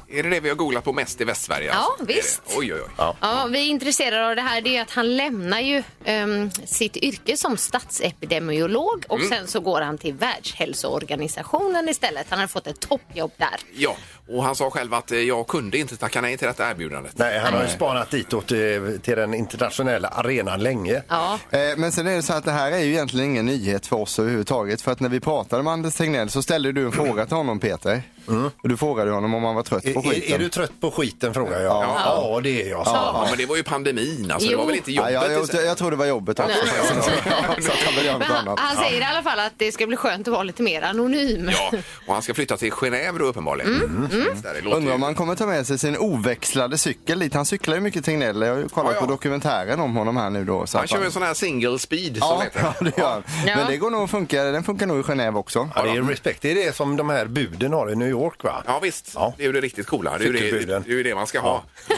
Speaker 4: Är det det vi har googlat på mest i Västsverige?
Speaker 6: Ja, visst.
Speaker 4: Eh, Oj, oj, oj.
Speaker 6: Ja, vi är intresserade av det här det är att han lämnar ju ehm, sitt yrke som statsepidemiolog och sen så går han till Världshälsoorganisationen istället. Han har fått ett toppjobb där.
Speaker 4: Ja, och han sa själv att eh, jag kunde inte tacka nej till detta erbjudandet.
Speaker 7: Nej, han har ju spanat ditåt eh, till den internationella arenan länge.
Speaker 6: Ja.
Speaker 5: Eh, Men sen är det så att det här är ju egentligen ingen nyhet för oss överhuvudtaget. För att när vi pratade med Anders Tegnell så ställde du en fråga till honom Peter.
Speaker 4: Mm.
Speaker 5: Och du frågade honom om han var trött
Speaker 7: Är,
Speaker 5: på skiten.
Speaker 7: är, är du trött på skiten frågar jag. Ja, det är jag.
Speaker 4: Ja, men det var ju pandemin alltså. Det
Speaker 6: Jo.
Speaker 4: var väl inte
Speaker 5: Ja,
Speaker 4: jobbet?
Speaker 5: jag,
Speaker 4: i
Speaker 5: jag,
Speaker 4: sig?
Speaker 5: jag tror det var jobbet också. faktiskt. Ja, så att han vill göra
Speaker 6: Men
Speaker 5: något
Speaker 6: han,
Speaker 5: annat.
Speaker 4: alltså,
Speaker 6: han säger i alla fall att det ska bli skönt att vara lite mer anonym.
Speaker 4: Ja, och han ska flytta till Genève då uppenbarligen. Där det låter
Speaker 5: Undrar om
Speaker 4: ju-
Speaker 5: han kommer ta med sig sin oväxlade cykel dit. Han cyklar ju mycket Tegnell. Jag har ju kollat
Speaker 4: Ja, ja.
Speaker 5: på dokumentären om honom här nu då. Så
Speaker 4: Han
Speaker 5: att
Speaker 4: kör ju en sån här single speed som
Speaker 5: Ja,
Speaker 4: heter.
Speaker 5: ja, det gör han.
Speaker 6: Ja.
Speaker 5: Men det går nog att funka. Den funkar nog i Genève också.
Speaker 7: Ja, det är ju respekt. Det är det som de här buden har i New York va?
Speaker 4: Ja visst,
Speaker 7: Ja.
Speaker 4: det är ju det riktigt coola. Det är ju det, det,
Speaker 7: Cykelbuden.
Speaker 4: är ju det man ska ha.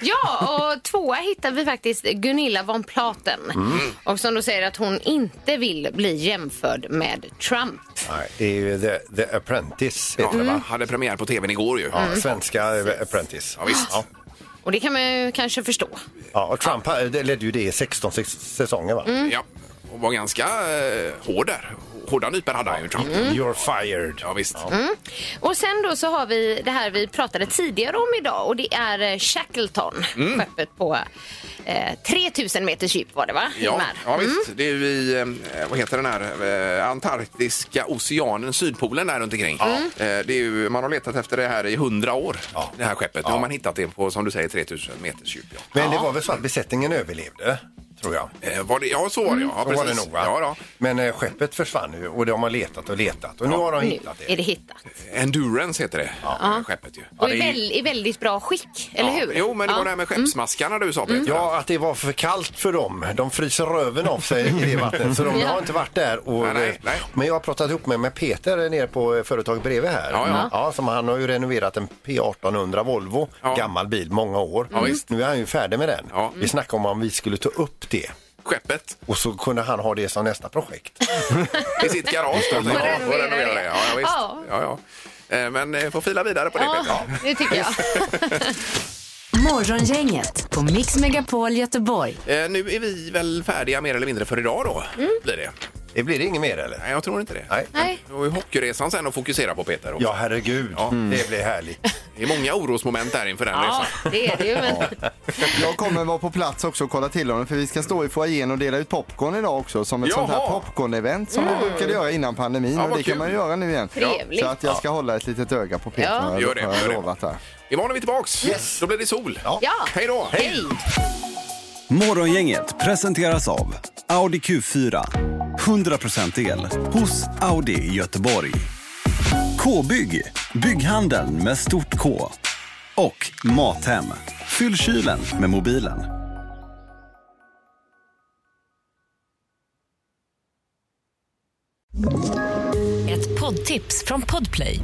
Speaker 6: Ja, och tvåa hittar vi faktiskt Gunilla von Platen. Och som då säger att hon inte vill bli jämförd med Trump.
Speaker 7: Nej, det är ju The, The Apprentice heter det
Speaker 4: Ja,
Speaker 7: va?
Speaker 4: Hade premiär på tvn igår ju.
Speaker 7: Mm. Ja, Svenska eh, Apprentice.
Speaker 4: Mm. Ja, visst.
Speaker 7: Ja.
Speaker 6: Och det kan man ju kanske förstå.
Speaker 7: Ja, och Trump eh, det ledde ju det i 16 se- säsonger va?
Speaker 4: Ja, och var ganska eh, hård där. Hårda nypor hade han ju Trump.
Speaker 7: You're fired.
Speaker 4: Mm. Ja, visst.
Speaker 6: Och sen då så har vi det här vi pratade tidigare om idag och det är eh, Shackleton.
Speaker 4: Mm.
Speaker 6: Skeppet på eh, 3000 meters djup var det va?
Speaker 4: Ja,
Speaker 6: Ingmar?
Speaker 4: ja visst. Det är ju i, eh, vad heter den här, eh, Antarktiska oceanen, Sydpolen där runt omkring. Eh, Det är ju, man har letat efter det här i hundra år,
Speaker 7: Ja.
Speaker 4: det här skeppet. Nu har man hittat det på, som du säger, 3000 meters djup. Ja.
Speaker 7: Men det var väl så att besättningen överlevde, tror jag.
Speaker 4: Eh, Var det, ja, så var det ja.
Speaker 7: Så
Speaker 4: precis.
Speaker 7: var det nog va?
Speaker 4: Ja, då.
Speaker 7: Men eh, skeppet försvann ju och de har letat och letat och nu har de
Speaker 6: Nu
Speaker 7: hittat
Speaker 6: är
Speaker 7: det.
Speaker 6: det hittat.
Speaker 4: Endurance heter det, eh, skeppet ju.
Speaker 6: Och
Speaker 4: Ja,
Speaker 6: i,
Speaker 4: det är-
Speaker 6: väl, i väldigt bra skick, eller
Speaker 4: Ja.
Speaker 6: hur?
Speaker 4: Jo, men det var
Speaker 6: Ja.
Speaker 4: det här med skeppsmaskarna du sa Peter.
Speaker 7: Ja, att det var för kallt för dem. De fryser röven av sig i det vattnet så de
Speaker 6: Ja.
Speaker 7: har inte varit där. Och, eh,
Speaker 4: Nej, nej, nej.
Speaker 7: Men jag har pratat ihop mig med Peter nere på eh, företaget bredvid här. Mm.
Speaker 4: Ja, ja.
Speaker 7: som han har ju renoverat en P1800 Volvo,
Speaker 4: Ja.
Speaker 7: gammal bil, många år.
Speaker 4: visst.
Speaker 7: Nu är han ju färdig med den.
Speaker 4: Ja.
Speaker 7: Vi snackade om om vi skulle ta upp det
Speaker 4: Skeppet
Speaker 7: och så kunde han ha det som nästa projekt.
Speaker 4: i sitt garage. Då, tänker jag.
Speaker 6: renovera
Speaker 4: Och renovera
Speaker 6: det.
Speaker 4: det. Ja, ja, visst.
Speaker 6: Ja.
Speaker 4: Ja, ja. Eh, Men eh, får fila vidare på det.
Speaker 6: Ja,
Speaker 4: Peter. Ja.
Speaker 6: det tycker jag.
Speaker 3: Morgongänget på Mix Megapol Göteborg.
Speaker 4: Eh, Nu är vi väl färdiga mer eller mindre för idag då?
Speaker 6: Mm.
Speaker 4: Blir det?
Speaker 7: Det blir inget mer eller?
Speaker 4: Nej, jag tror inte det.
Speaker 7: Nej.
Speaker 6: Nej.
Speaker 4: Det var ju hockeyresan sen att fokusera på Peter. Och
Speaker 7: Ja, herregud. Det blir härligt.
Speaker 4: Det är många orosmoment där inför den
Speaker 6: Ja,
Speaker 4: resan.
Speaker 6: det är det ju. Men...
Speaker 5: Jag kommer vara på plats också och kolla till honom för vi ska stå i foajén och dela ut popcorn idag också som ett
Speaker 4: Jaha. Mm.
Speaker 5: sånt här popcorn-event som vi brukade göra innan pandemin
Speaker 4: Ja,
Speaker 5: och
Speaker 4: vad
Speaker 5: det kan
Speaker 4: kul.
Speaker 5: man ju göra nu igen.
Speaker 6: Trevligt.
Speaker 5: Så att jag ska hålla ett litet öga på Peter
Speaker 6: Ja.
Speaker 5: har jag-
Speaker 4: Gör det,
Speaker 5: har
Speaker 4: gör
Speaker 5: jag
Speaker 4: det.
Speaker 5: lovat här.
Speaker 4: Imorgon är vi tillbaks. Då blir det sol.
Speaker 6: Ja.
Speaker 4: Hej då!
Speaker 6: Hej!
Speaker 11: Morgongänget presenteras av Audi Q4. 100% el hos Audi Göteborg. K-bygg, bygghandeln med stort K. Och Mathem, fyll kylen med mobilen.
Speaker 12: Ett poddtips från Podplay.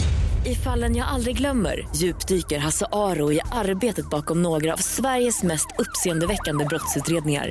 Speaker 12: I fallen jag aldrig glömmer djupdyker Hasse Aro i arbetet bakom några av Sveriges mest uppseendeväckande brottsutredningar.